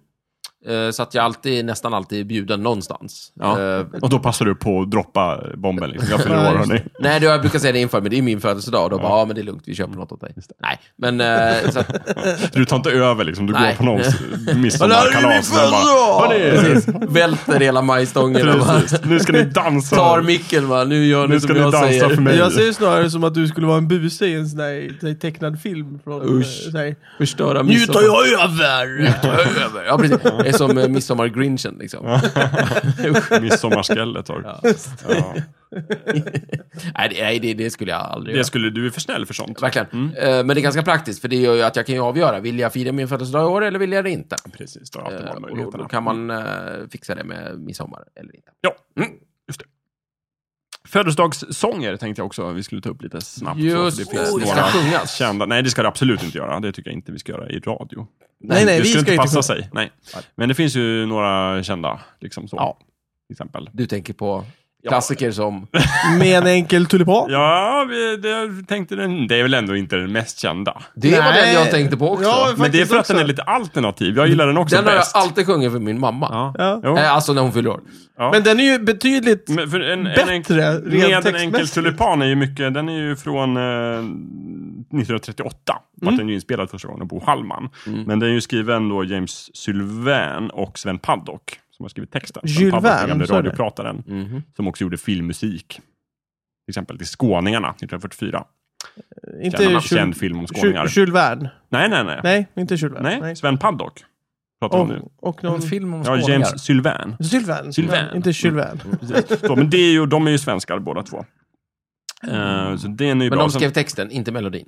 S2: Eh, Så att jag alltid, nästan alltid är bjuden någonstans.
S1: Ja.
S2: Eh,
S1: Och då passar du på att droppa bomben. Liksom. Jag fyller år, hörni.
S2: Nej, det jag brukar säga det inför, men det är min födelsedag. Och då bara, ja men det är lugnt, vi köper något åt dig. Nej, men eh, så att,
S1: Du tar inte över liksom. Du
S2: Nej.
S1: går på någons
S3: Hörni, det är min
S1: midsommarkalas. och sen bara, "Hörni,
S2: precis, välter hela majstången och bara,
S1: Precis, nu ska ni dansa.
S2: tar micken va, nu gör ni
S1: Nu
S2: som
S1: ska ni
S2: jag
S1: dansa
S2: säger.
S1: för mig.
S3: Jag ser ju snarare som att du skulle vara en buse i en sån här, sån här tecknad film. Från, eh,
S2: Usch.
S3: Så här,
S2: Förstöra
S3: nu tar
S2: midsommar.
S3: jag över!
S2: jag över. Ja, precis. Det är som eh, midsommar-grinchen liksom.
S1: Midsommarskellet. Torg. Ja.
S2: Nej, det, nej det, det skulle jag aldrig
S1: Det
S2: göra.
S1: skulle, Mm. du är för snäll för sånt.
S2: Verkligen. Eh, Men det är ganska praktiskt, för det gör ju att jag kan ju avgöra. Vill jag fira min födelsedag i år eller vill jag det inte?
S1: Precis, då har
S2: Eh,
S1: jag
S2: och då, då kan man
S1: Mm.
S2: eh, fixa det med midsommar eller inte.
S1: Ja, mm, just det. Födelsedagssånger tänkte jag också vi skulle ta upp lite snabbt.
S2: Just
S1: så att
S2: det, det ska sjungas.
S1: Kända. Nej, det ska det absolut inte göra. Det tycker jag inte vi ska göra i radio.
S3: Nej, nej,
S1: det
S3: vi
S1: skulle
S3: ska
S1: inte
S3: inte
S1: passa
S3: sjunga.
S1: sig. Nej. Men det finns ju några kända. Liksom så.
S2: Ja.
S1: Till exempel.
S2: Du tänker på klassiker som...
S3: Med en enkel tulipan.
S1: Ja, vi, det, jag tänkte den, det är väl ändå inte den mest kända.
S2: Det var
S3: Nej.
S2: den jag tänkte på också.
S3: Ja,
S1: Men det är
S3: faktiskt
S1: för att
S3: också.
S1: den är lite alternativ. Jag gillar den också
S2: den har jag
S1: bäst.
S2: alltid sjungit för min mamma.
S1: Ja.
S3: Ja.
S1: Jo.
S2: Eh, Alltså när hon fyller år.
S1: Ja.
S3: Men den är ju betydligt...
S1: Men för en, en enkel,
S3: Bättre, rent
S1: med en enkel
S3: textmässigt.
S1: tulipan är ju mycket, den är ju från eh, 1938. Vart den ju inspelad första gången av Bo Hallman. Men den är ju skriven då James Sylvain och Sven Paddock. Som har skrivit texten. Sven
S3: Jules
S1: Paddock, den
S3: Verne,
S1: gamle
S3: sa du?
S1: radioprataren. Som också gjorde filmmusik. Till exempel till Skåningarna 1944.
S3: Inte
S1: Känd,
S3: Jules-
S1: känd film om skåningar.
S3: Ju- Jules Verne.
S1: nej, nej, nej.
S3: Nej, inte Jules Verne.
S1: Nej, Sven Paddock. Pratar vi om
S3: Och,
S1: nu.
S3: och
S4: En
S3: någon...
S4: film om
S1: Ja,
S4: skåningar.
S1: James Sylvain.
S3: Jules Verne.
S1: Jules Verne. Mm.
S3: men Inte Jules Verne.
S1: Precis. Så, men det är ju, de är ju svenskar båda två. Eh, så den är ju
S2: Men
S1: bra.
S2: de
S1: Sen-
S2: skrev texten, inte melodin.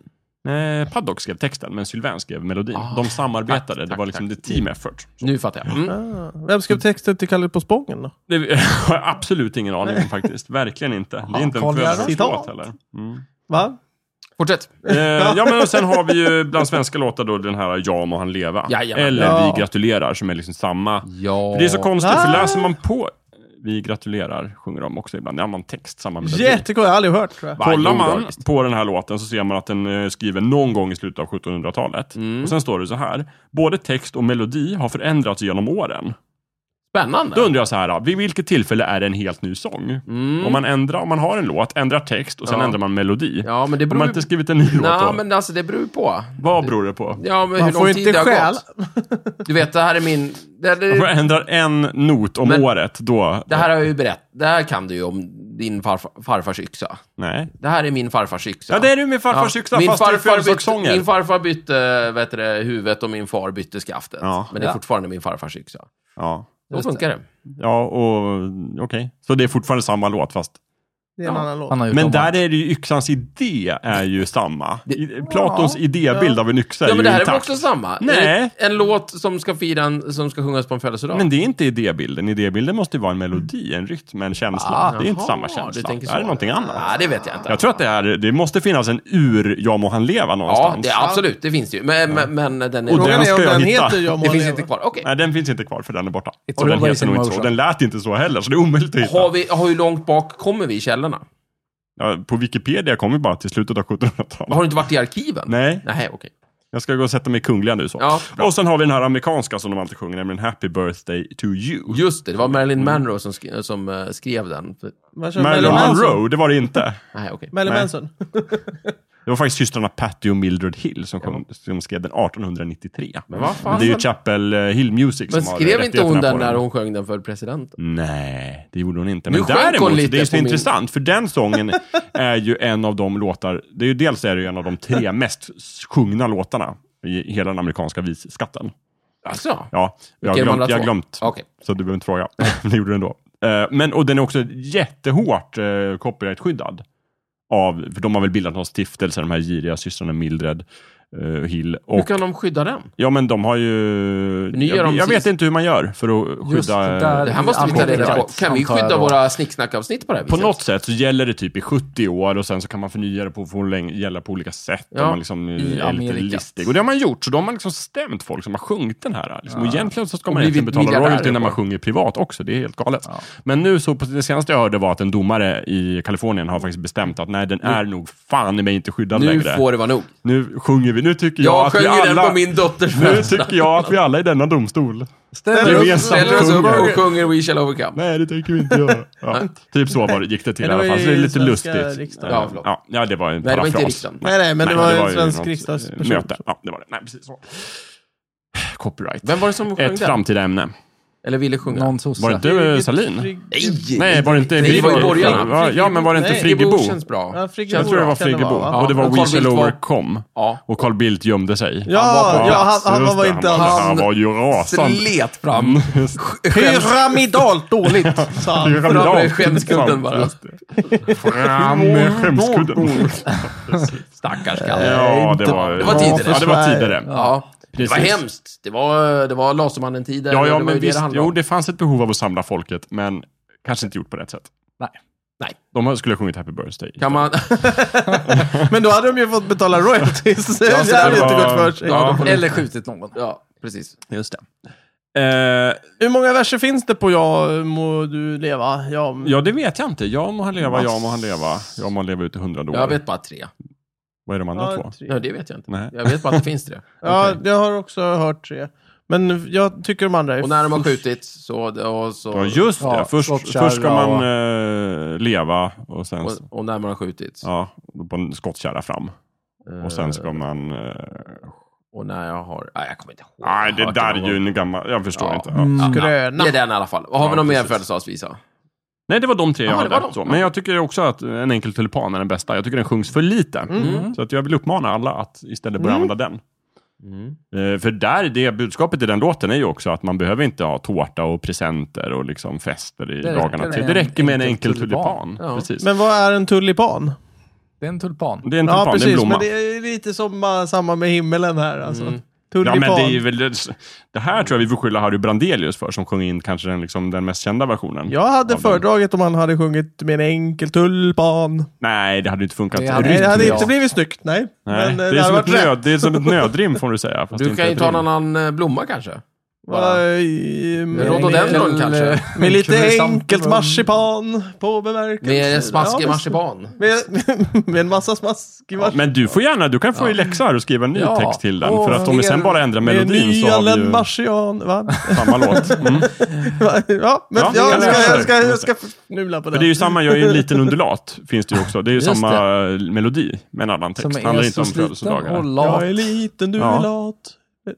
S1: Eh, Paddock skrev texten, men Sylvain skrev melodin.
S2: Ah,
S1: de samarbetade,
S2: tack,
S1: det var liksom
S2: tack.
S1: the team effort.
S2: Nu fattar jag. Mm.
S3: Ah, vem skrev texten till Kalle på Spången då?
S1: Det har jag absolut ingen aning om faktiskt. Verkligen inte.
S2: Ah,
S1: Det är inte en
S4: Carl
S1: födelsedagslåt
S3: Gerhardsson.
S1: heller. Mm.
S3: Va?
S2: Fortsätt.
S1: Eh, ja, men och sen har vi ju bland svenska låtar då den här Ja må han leva.
S2: Jajamän.
S1: Eller
S3: Ja.
S1: Vi gratulerar, som är liksom samma.
S2: Ja.
S1: För det är så konstigt,
S3: Ah.
S1: för läser man på vi gratulerar sjunger de också ibland. Ja, man text samma melodi.
S3: Jättekul, jag har aldrig hört tror jag.
S2: Varje
S1: Kollar man
S2: ord,
S1: på den här låten så ser man att den eh, skriven någon gång i slutet av 1700-talet.
S2: Mm.
S1: Och sen står det så här. Både text och melodi har förändrats genom åren.
S2: Spännande.
S1: Då undrar jag så här, vid vilket tillfälle är det en helt ny sång? Om man ändrar, om man har en låt, ändrar text och sen
S2: Mm. Ja.
S1: ändrar man melodi.
S2: Ja, men det
S1: Om
S2: beror
S1: man
S2: ju...
S1: inte skrivit en ny låt då?
S2: Nej, men alltså det beror ju på.
S1: Vad beror det på?
S2: Ja, men
S3: Man
S2: hur lång
S3: får
S2: tid
S3: inte
S2: det har
S3: stjäla.
S2: gått. Du vet, det här är min... Det,
S1: Om
S2: det,
S1: man ändrar en not om
S2: Men-
S1: året, då...
S2: det här har jag ju berättat. Det här kan du ju om din farfar, farfars yxa.
S1: Nej.
S2: Det här är min farfars yxa.
S1: Ja, det är du med farfars
S2: Ja.
S1: yxa,
S2: Min
S1: fast i
S2: farfar, bytte,
S1: födelsedagssånger.
S2: min farfar bytte vet du, det, huvudet och min far bytte skaftet.
S1: Ja.
S2: Men det är
S4: Ja.
S2: fortfarande min farfars yxa.
S1: Ja.
S2: Då
S4: Just det.
S2: funkar det.
S1: Ja, och okej. Så det är fortfarande samma låt fast...
S3: Det är en
S2: Ja.
S3: annan låt.
S4: Han har ju
S1: Men
S4: jobbat.
S1: där är det ju yxans idé är ju samma. I- Platons idébild av en yxa är
S2: Ja,
S1: ju
S2: men det här är väl
S1: intakt.
S2: också samma?
S1: Nej.
S2: En, en låt som ska fira en, som ska sjungas på en födelsedag.
S1: Men det är inte idébilden. Idébilden måste ju vara en melodi, en rytm, en känsla. det är inte
S2: Ah, Jaha,
S1: samma
S2: du
S1: känsla.
S2: tänker
S1: Det
S2: så.
S1: här är någonting annat.
S2: Nej, det vet jag inte.
S1: Jag tror att det, är, det måste finnas en ur Ja må han leva
S2: ja,
S1: någonstans.
S2: det, absolut, det finns det ju. Men, men, men den är...
S1: Och
S3: Frågan
S1: den
S3: är
S1: ska
S3: om
S1: jag
S3: den
S1: hitta.
S3: heter Jag må
S2: det finns
S3: leva.
S2: inte kvar. Okej.
S1: Nej, den finns inte kvar för den är borta.
S4: It's
S1: Och den
S4: always
S1: heter
S4: in
S1: nog inte så. Den
S4: motion.
S1: lät inte så heller, så det är omöjligt att hitta.
S2: Har, vi, har hur långt bak kommer vi i källorna?
S1: Ja, på Wikipedia kom vi bara till slutet av 1700-talet.
S2: Har du inte varit i arkiven?
S1: Nej,
S2: Nej, okej.
S1: jag ska gå och sätta mig i Kungliga nu så.
S2: Ja, bra.
S1: och sen har vi den här amerikanska som de alltid sjunger, nämligen Happy birthday to you.
S2: Just det, det var Marilyn
S1: Mm.
S2: Monroe som, sk- som eh, skrev den.
S3: Man kör
S1: Marilyn
S3: Manson.
S1: Monroe, det var det inte.
S2: Nej, okej.
S3: Marilyn
S1: Nej.
S3: Manson.
S1: Det var faktiskt systrarna Patty och Mildred Hill som, sjung- som skrev den 1893.
S2: Men vad fan?
S1: Men det är ju Chapel eh, Hill Music
S2: Men
S1: som har
S2: skrev inte hon
S1: rättigheterna
S2: den
S1: på
S2: när hon sjöng den för presidenten?
S1: Nej, det gjorde hon inte.
S2: Nu
S1: Men
S2: sjönk hon
S1: däremot,
S2: lite
S1: det är ju
S2: på
S1: så
S2: min-
S1: intressant, för den sången är ju en av de låtar, det är ju dels är det ju en av de tre mest sjungna låtarna i hela den amerikanska visskatten.
S2: Alltså?
S1: Ja, jag har
S2: Vilken var
S1: glömt,
S2: det
S1: jag har
S2: två?
S1: glömt
S2: Okej.
S1: så du behöver inte fråga. Men det gjorde den då. Eh, Men, och den är också jättehårt eh, copyrightskyddad. Av, för de har väl bildat någon stiftelse, de här giriga systrarna Mildred eh, Hill.
S2: Hur
S1: Och,
S2: kan de skydda den?
S1: ja, men de har ju...
S2: nu gör
S1: jag
S2: de
S1: jag
S2: precis-
S1: vet inte hur man gör för att
S4: Just
S1: skydda...
S4: det där.
S2: Det här måste vi ta reda på. Kan vi
S4: Antar jag
S2: skydda
S4: då.
S2: våra snicksnackavsnitt på det här
S1: På
S2: viset?
S1: något sätt så gäller det typ i 70 år och sen så kan man förnya det på, få länge, gälla på olika sätt.
S2: Ja,
S1: om man liksom eh,
S4: i
S1: är lite
S4: Amerika.
S1: listig. Och det har man gjort, så då har man liksom stämt folk som har sjungit den här. Liksom. Och egentligen så ska man
S2: blivit
S1: egentligen betala
S2: miljardärer
S1: royalty när man
S2: på.
S1: sjunger privat också. Det är helt galet. Men nu så, på det senaste jag hörde var att en domare i Kalifornien har faktiskt bestämt att nej, den är nog fan i mig inte skyddad
S2: Nu
S1: längre.
S2: får det vara nog.
S1: Nu sjunger vi, nu tycker jag,
S2: Jag
S1: att vi
S2: sjöng ju den
S1: alla...
S2: på min dotters
S1: Nu
S2: födelsedag.
S1: tycker jag att vi alla i denna domstol
S4: Ställer
S3: upp-
S1: gemensamt
S2: Ställer oss upp
S1: sjunger.
S2: och sjunger We shall overcome.
S1: Nej, det tänker vi inte göra. Ja. typ så var det, gick det till i
S3: Men det
S1: alla
S3: var
S1: fall. Så det är
S3: ju
S1: lite
S3: svenska
S1: lustigt.
S3: riksdagen.
S2: Ja, förlåt.
S1: Ja, ja, det var en
S2: Nej, det var
S1: parafras.
S2: inte i riksdagen.
S3: Nej, nej, men det var en
S1: ju något,
S3: svensk
S1: eh,
S3: riksdagsperson.
S1: Möte. Ja, det var det. Nej, precis så. Copyright.
S2: Vem var det som sjöng
S1: Ett
S2: den?
S1: framtida ämne.
S2: Eller ville sjunga?
S4: någon sosse.
S1: Var det inte eh, Salin?
S2: Nej!
S1: Nej, var det inte
S2: Nej, det var ju
S1: Friggebo?
S2: borgarna.
S1: Ja, Ja, men var det inte
S3: Nej,
S1: Friggebo?
S2: Friggebo känns bra.
S3: Ja, Friggebo
S1: Jag tror det var
S3: kan det
S1: Friggebo.
S3: vara, va?
S1: Och det var
S2: Och
S1: We
S2: Carl
S1: shall
S2: Bildt var-
S1: overcome.
S2: Ja.
S1: Och Carl Bildt gömde sig.
S3: Ja,
S1: var på
S3: ja,
S1: plats.
S3: han- han
S1: Just
S3: var
S1: det,
S3: inte
S1: Han,
S3: alls-
S1: han var ju rasande.
S2: Slet fram.
S3: Pyramidalt dåligt, sa han.
S2: Fram med
S1: Pyramidalt.
S2: skämskudden bara.
S1: Fram med skämskudden.
S2: Stackars
S1: Eh,
S2: kalle.
S1: Ja, det var,
S2: Det var tidigare.
S1: Ja, det var tidigare.
S2: Ja. Det var
S1: Precis.
S2: hemskt. Det var, det var Lasermannen-tiden.
S1: Ja, ja
S2: det var ju
S1: men
S2: det det
S1: visst.
S2: handlade
S1: Jo,
S2: om.
S1: det fanns ett behov av att samla folket, men kanske inte gjort på rätt sätt.
S4: Nej.
S2: Nej.
S1: De skulle ha sjungit Happy birthday.
S2: Kan man...
S3: Men då hade de ju fått betala royalties. Det
S2: så det
S3: hade inte
S1: var-
S3: gått för sig.
S2: Ja.
S4: Eller skjutit någon.
S2: Ja, precis.
S1: Just det. Eh,
S3: Hur många verser finns det på Jag må du leva? Ja,
S1: ja, det vet jag inte. Ja må han leva, ja må han leva. Ja må han leva ut i hundrade år.
S2: Jag vet bara tre.
S1: Vad är de andra två?
S3: ja, tre.
S2: Nej, det vet jag inte.
S1: Nej.
S2: Jag vet bara att det finns tre.
S3: ja, jag har också hört tre. Men jag tycker de andra är...
S2: Och när de har skjutits så... Och, så,
S1: Ja, just det.
S4: Ja,
S1: först,
S4: skottkärra
S1: först ska man eh, leva och sen... så-
S2: och, och när man har skjutits.
S1: Ja, på en skottkärra fram. Och sen ska man... eh,
S2: Och när jag har... Nej, jag kommer inte ihåg.
S1: Nej,
S2: Jag
S1: det
S2: har
S1: där är
S2: hört
S1: ju
S2: någon gång.
S1: en gammal... Jag förstår
S2: Ja.
S1: inte. Ja.
S3: Mm.
S2: Det
S3: Gröna.
S2: är den i alla fall. Har vi
S1: Ja,
S2: någon mer
S1: precis.
S2: födelsedagsvisa?
S1: Nej, det var de tre jag
S2: Ja, det var
S1: hade.
S2: de.
S1: Så. Men jag tycker också att En enkel tulipan är den bästa. Jag tycker den sjungs för lite. Så att jag vill uppmana alla att istället börja använda den. Eh, För där, det budskapet i den låten är ju också att man behöver inte ha tårta och presenter och liksom fester i
S4: Det räcker
S1: dagarna
S4: med
S1: till. Det
S4: en
S1: räcker med en
S4: enkel
S1: enkel
S4: tulipan.
S1: tulipan.
S2: Ja.
S1: Precis.
S3: Men vad är en tulipan?
S4: Det är en tulpan.
S1: det är en tulipan, det
S3: Ja,
S1: är en
S3: precis.
S1: blomma.
S3: Men det är lite som bara samma med himmelen här. Alltså.
S2: Mm.
S1: Ja,
S3: Tulipan.
S1: men det, är ju väl, det här tror jag vi får skylla Harry Brandelius för, som sjöng in kanske den, liksom, den mest kända versionen.
S3: Jag hade
S1: av den.
S3: föredragit om han hade sjungit med en enkel tulpan.
S1: Nej, det hade ju inte funkat.
S4: Det hade-
S3: Nej, det hade
S1: rytmiskt.
S4: Ja.
S3: inte blivit snyggt, nej.
S1: Nej,
S3: Men eh,
S1: det, är
S3: hade
S1: som
S3: varit
S1: ett
S3: rätt.
S1: nöd, det är som ett nödrim får du säga. fast
S2: Du
S1: inte
S2: kan ju
S1: ett
S2: ta
S1: rim.
S2: en annan eh, blomma kanske.
S4: Bara-
S3: Aj, med-
S2: Rhododendron
S4: Med-
S2: kanske?
S1: eh,
S3: Med lite
S4: Kulsam-
S3: enkelt marsipan på bemärkelsen.
S2: Med smaskig
S3: Ja, visst.
S2: marsipan.
S3: Med, med en massa smaskig marsipan.
S1: Men du får gärna, du kan få i läxa här och skriva en ny
S4: Ja.
S1: text till den.
S4: Åh,
S1: För att om vi
S4: mer-
S1: sen bara ändrar
S3: Med
S1: melodin så har vi
S3: nyanländ
S1: ju
S3: marsian. Va?
S1: samma låt. Mm.
S3: Ja, men
S1: Ja,
S3: jag,
S1: kan
S3: ska,
S1: lösa
S3: jag,
S1: det.
S3: ska, jag ska fnula på
S1: För det är
S3: det.
S1: ju samma, jag är ju en liten undulat, finns det ju också. Det är ju samma melodi med en annan text.
S4: Som
S1: Det
S4: är
S1: handlar inte
S4: så
S1: om
S4: sliten och
S1: födelsedagar.
S4: lat.
S3: Jag är liten, du
S1: Ja.
S3: är lat.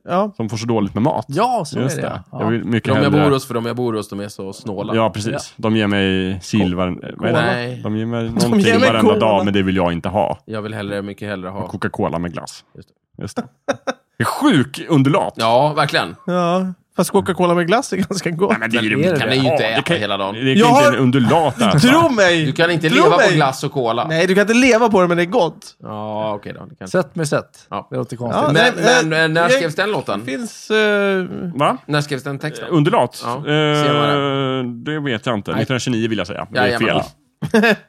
S3: Ja,
S1: Som får så dåligt med mat.
S4: Ja, så
S1: Just
S4: är det.
S1: det.
S4: Ja.
S1: Jag vill mycket
S2: De jag
S1: hellre...
S2: bor hos, för de jag bor hos, de är så snåla.
S1: Ja, precis. De ger mig silver... Vad är det?
S2: Nej.
S1: De ger mig någonting
S3: ger mig
S1: varenda
S3: cola.
S1: dag, men det vill jag inte ha.
S2: Jag vill hellre, mycket hellre ha...
S1: Coca-Cola med glass.
S2: Just
S1: Just det. Det är sjuk undulat.
S2: Ja, verkligen.
S3: ja. Fast Coca-Cola med glass är ganska gott.
S1: Nej, men det är ju
S4: Men är det
S1: kan
S2: det?
S1: ni
S2: Kan ju inte
S1: ha.
S2: äta
S1: Det kan- Mm.
S2: hela dagen.
S1: Det kan
S3: Jag
S1: inte
S3: har-
S1: en undulat alltså. äta.
S3: Tro mig!
S2: Du kan inte
S3: Tro
S2: leva på
S3: mig!
S2: glass och cola.
S3: Nej, du kan inte leva på det, men det är gott.
S2: Ja, okej då. Det kan...
S4: Sätt med sätt.
S2: Ja.
S4: Det låter konstigt.
S3: Ja,
S2: Men,
S3: nej, nej,
S2: men eh, när
S3: jag-
S2: skrevs den
S3: Det
S2: låten?
S3: finns... eh,
S1: Va?
S2: När skrevs den texten?
S1: Undulat?
S2: Ja,
S1: eh,
S2: senare.
S1: det vet jag inte. 1929 vill jag säga. Det är
S2: Jajamän.
S1: fel.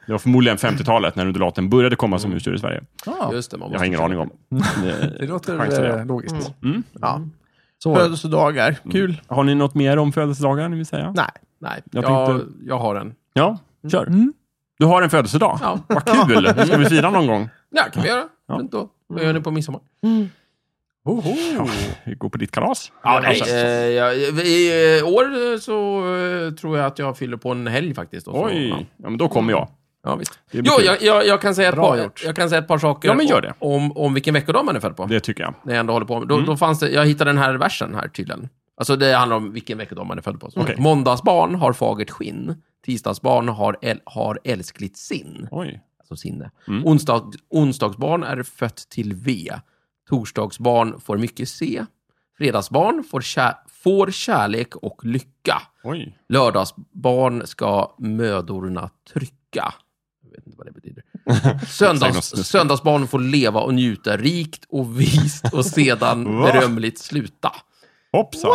S1: Det var förmodligen 50-talet när undulaten började komma som husdjur i Sverige.
S4: Ja,
S2: Just det, man
S1: Jag
S2: måste...
S1: har ingen aning om. chansar
S4: det låter
S1: jag.
S4: eh, logiskt.
S3: ja,
S2: Mm.
S4: Så.
S3: födelsedagar. Kul.
S1: Har ni något mer om födelsedagar ni vill säga?
S3: Nej.
S2: Nej,
S1: Jag
S2: jag,
S1: tänkte-
S2: jag har en.
S1: Ja, kör.
S4: Mm.
S1: Du har en födelsedag?
S2: Ja.
S1: Vad kul! Ska vi fira någon gång?
S2: Ja, kan vi göra.
S1: Ja. Mm.
S2: Fint då. Vad gör ni på midsommar?
S4: Oho.
S1: Vi går på ditt kalas?
S2: Eh, jag, I eh, år eh, så eh, tror jag att jag fyller på en helg faktiskt. Och så.
S1: Oj, ja, men då kommer jag.
S2: Ja, visst.
S1: Det blir
S2: Jo,
S1: kul.
S2: jag, jag, jag, kan säga ett
S4: Bra
S2: par,
S4: gjort.
S2: jag kan säga ett par saker
S1: Ja, men gör det.
S2: Om, om vilken veckodag man är född på.
S1: Det Mm. tycker jag.
S2: När jag ändå håller på med. Då, då fanns det, jag hittade den här versen här tydligen. Alltså det handlar om vilken veckodag man är född på. Så.
S1: Okej.
S2: Måndagsbarn har fagert skinn. Tisdagsbarn har, äl, har älskligt sinn.
S1: Oj.
S2: Alltså sinne.
S1: Mm.
S2: Onsdag, onsdagsbarn är fött till V. Torsdagsbarn får mycket C. Fredagsbarn får, kär, får kärlek och lycka.
S1: Oj.
S2: Lördagsbarn ska mödorna trycka. Jag vet inte vad det betyder. Söndags,
S1: Säg något.
S2: söndagsbarn får leva och njuta rikt och vist och sedan
S1: Va?
S2: berömligt sluta.
S1: Hoppsan.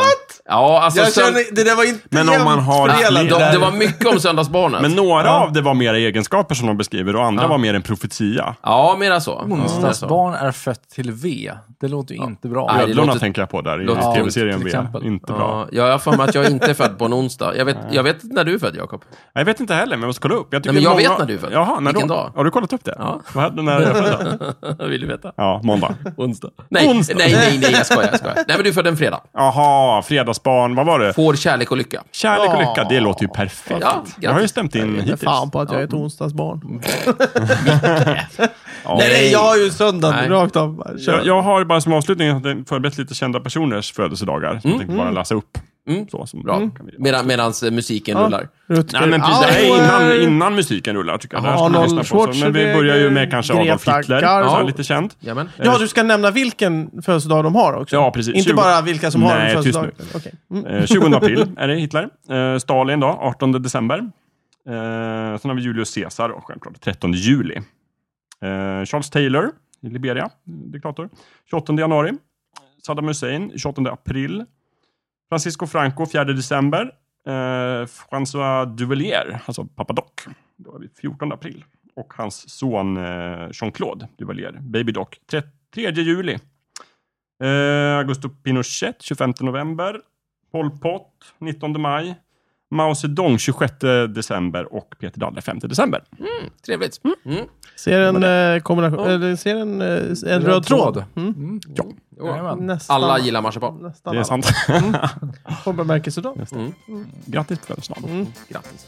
S2: Ja, alltså...
S3: Jag
S2: sön-
S3: känner, det där var inte
S1: Men om
S3: jämnt
S1: man har
S3: fördelat
S1: fler-
S2: de,
S3: där.
S2: det var mycket om söndagsbarnen.
S1: Men några av det var mera egenskaper som de beskriver och andra var mer en profetia.
S2: Ja, mera så. Mera så.
S4: Onsdagsbarn är fött till V. Det låter ju inte bra.
S2: Nej, det
S1: Ödlorna
S2: låter-
S1: tänker jag på där i
S2: låter tungt,
S1: tv-serien
S4: till
S1: V.
S4: exempel.
S1: Inte bra.
S2: Ja, jag har för mig att jag inte är född på en onsdag. Jag vet, jag vet inte när du är född, Jakob.
S1: Jag vet inte heller, men jag måste kolla upp. Jag, tycker
S2: Nej, men
S1: många...
S2: jag vet när du är född.
S1: Jaha, när
S2: Vilken
S1: då?
S2: dag?
S1: Har du kollat upp det?
S2: Ja.
S1: Vad hände när jag är född då?
S2: Vill du veta?
S1: Ja, måndag.
S2: Onsdag. Nej,
S1: Onsdag.
S2: nej, nej, nej, jag skojar, jag skojar. Nej, men du är född en fredag.
S1: Jaha, fredagsbarn. Vad var det?
S2: Får kärlek och lycka.
S1: Kärlek och lycka, det låter ju perfekt.
S2: Ja,
S1: jag har ju stämt in
S3: Men
S1: hittills.
S3: fan på att jag är ett onsdagsbarn.
S1: Ja.
S3: Nej, nej, jag har ju söndagen
S2: Nej.
S3: rakt av. Bara, Kör.
S1: Jag, jag har bara som avslutning att jag förberett lite kända personers födelsedagar. Så jag tänkte bara läsa upp. Så, som
S2: Mm, Bra.
S1: Kan vi...
S2: Medan medans eh, musiken rullar.
S3: Rutger.
S1: Nej, men precis. Det här
S3: Auer,
S1: är innan, innan musiken rullar, tycker jag. Det här ska man
S3: eh, Arnold
S1: lyssna på. Så, men vi
S3: Schwarzenegger,
S1: börjar ju med kanske Adolf
S3: Greta
S1: Hitler,
S3: Garbo.
S1: så här, lite känd.
S2: Jajamän.
S3: Ja, du ska nämna vilken födelsedag de har också.
S1: Ja, precis.
S3: Inte
S1: 20
S3: bara vilka som har
S1: Nej,
S3: en födelsedag.
S1: tyst
S3: Okej. Mm.
S1: Eh, 20 april är det Hitler. Eh, Stalin då, 18 december. Eh, sen har vi Julius Caesar då, självklart, 13 juli. Eh, Charles Taylor i Liberia, diktator. 28 januari. Saddam Hussein, 28 april. Francisco Franco, 4 december. Eh, François Duvalier, alltså pappa Doc, då är vi 14 april. Och hans son eh, Jean-Claude Duvalier, baby Doc, 3 juli. Eh, Augusto Pinochet, 25 november. Pol Pot, 19 maj. Mao Zedong, 26 december. Och Peter Dalle, 5 december.
S2: Trevligt. Mm.
S3: Ser en eh, kombination, eller ser en, eh, en röd tråd. Mm.
S2: Jo.
S4: Jajamän.
S3: Nästan,
S2: Alla gillar marsipan.
S3: Nästan
S1: Det är sant.
S3: alla. På bemärkelsedag.
S1: Grattis på födelsedagen.
S2: Grattis.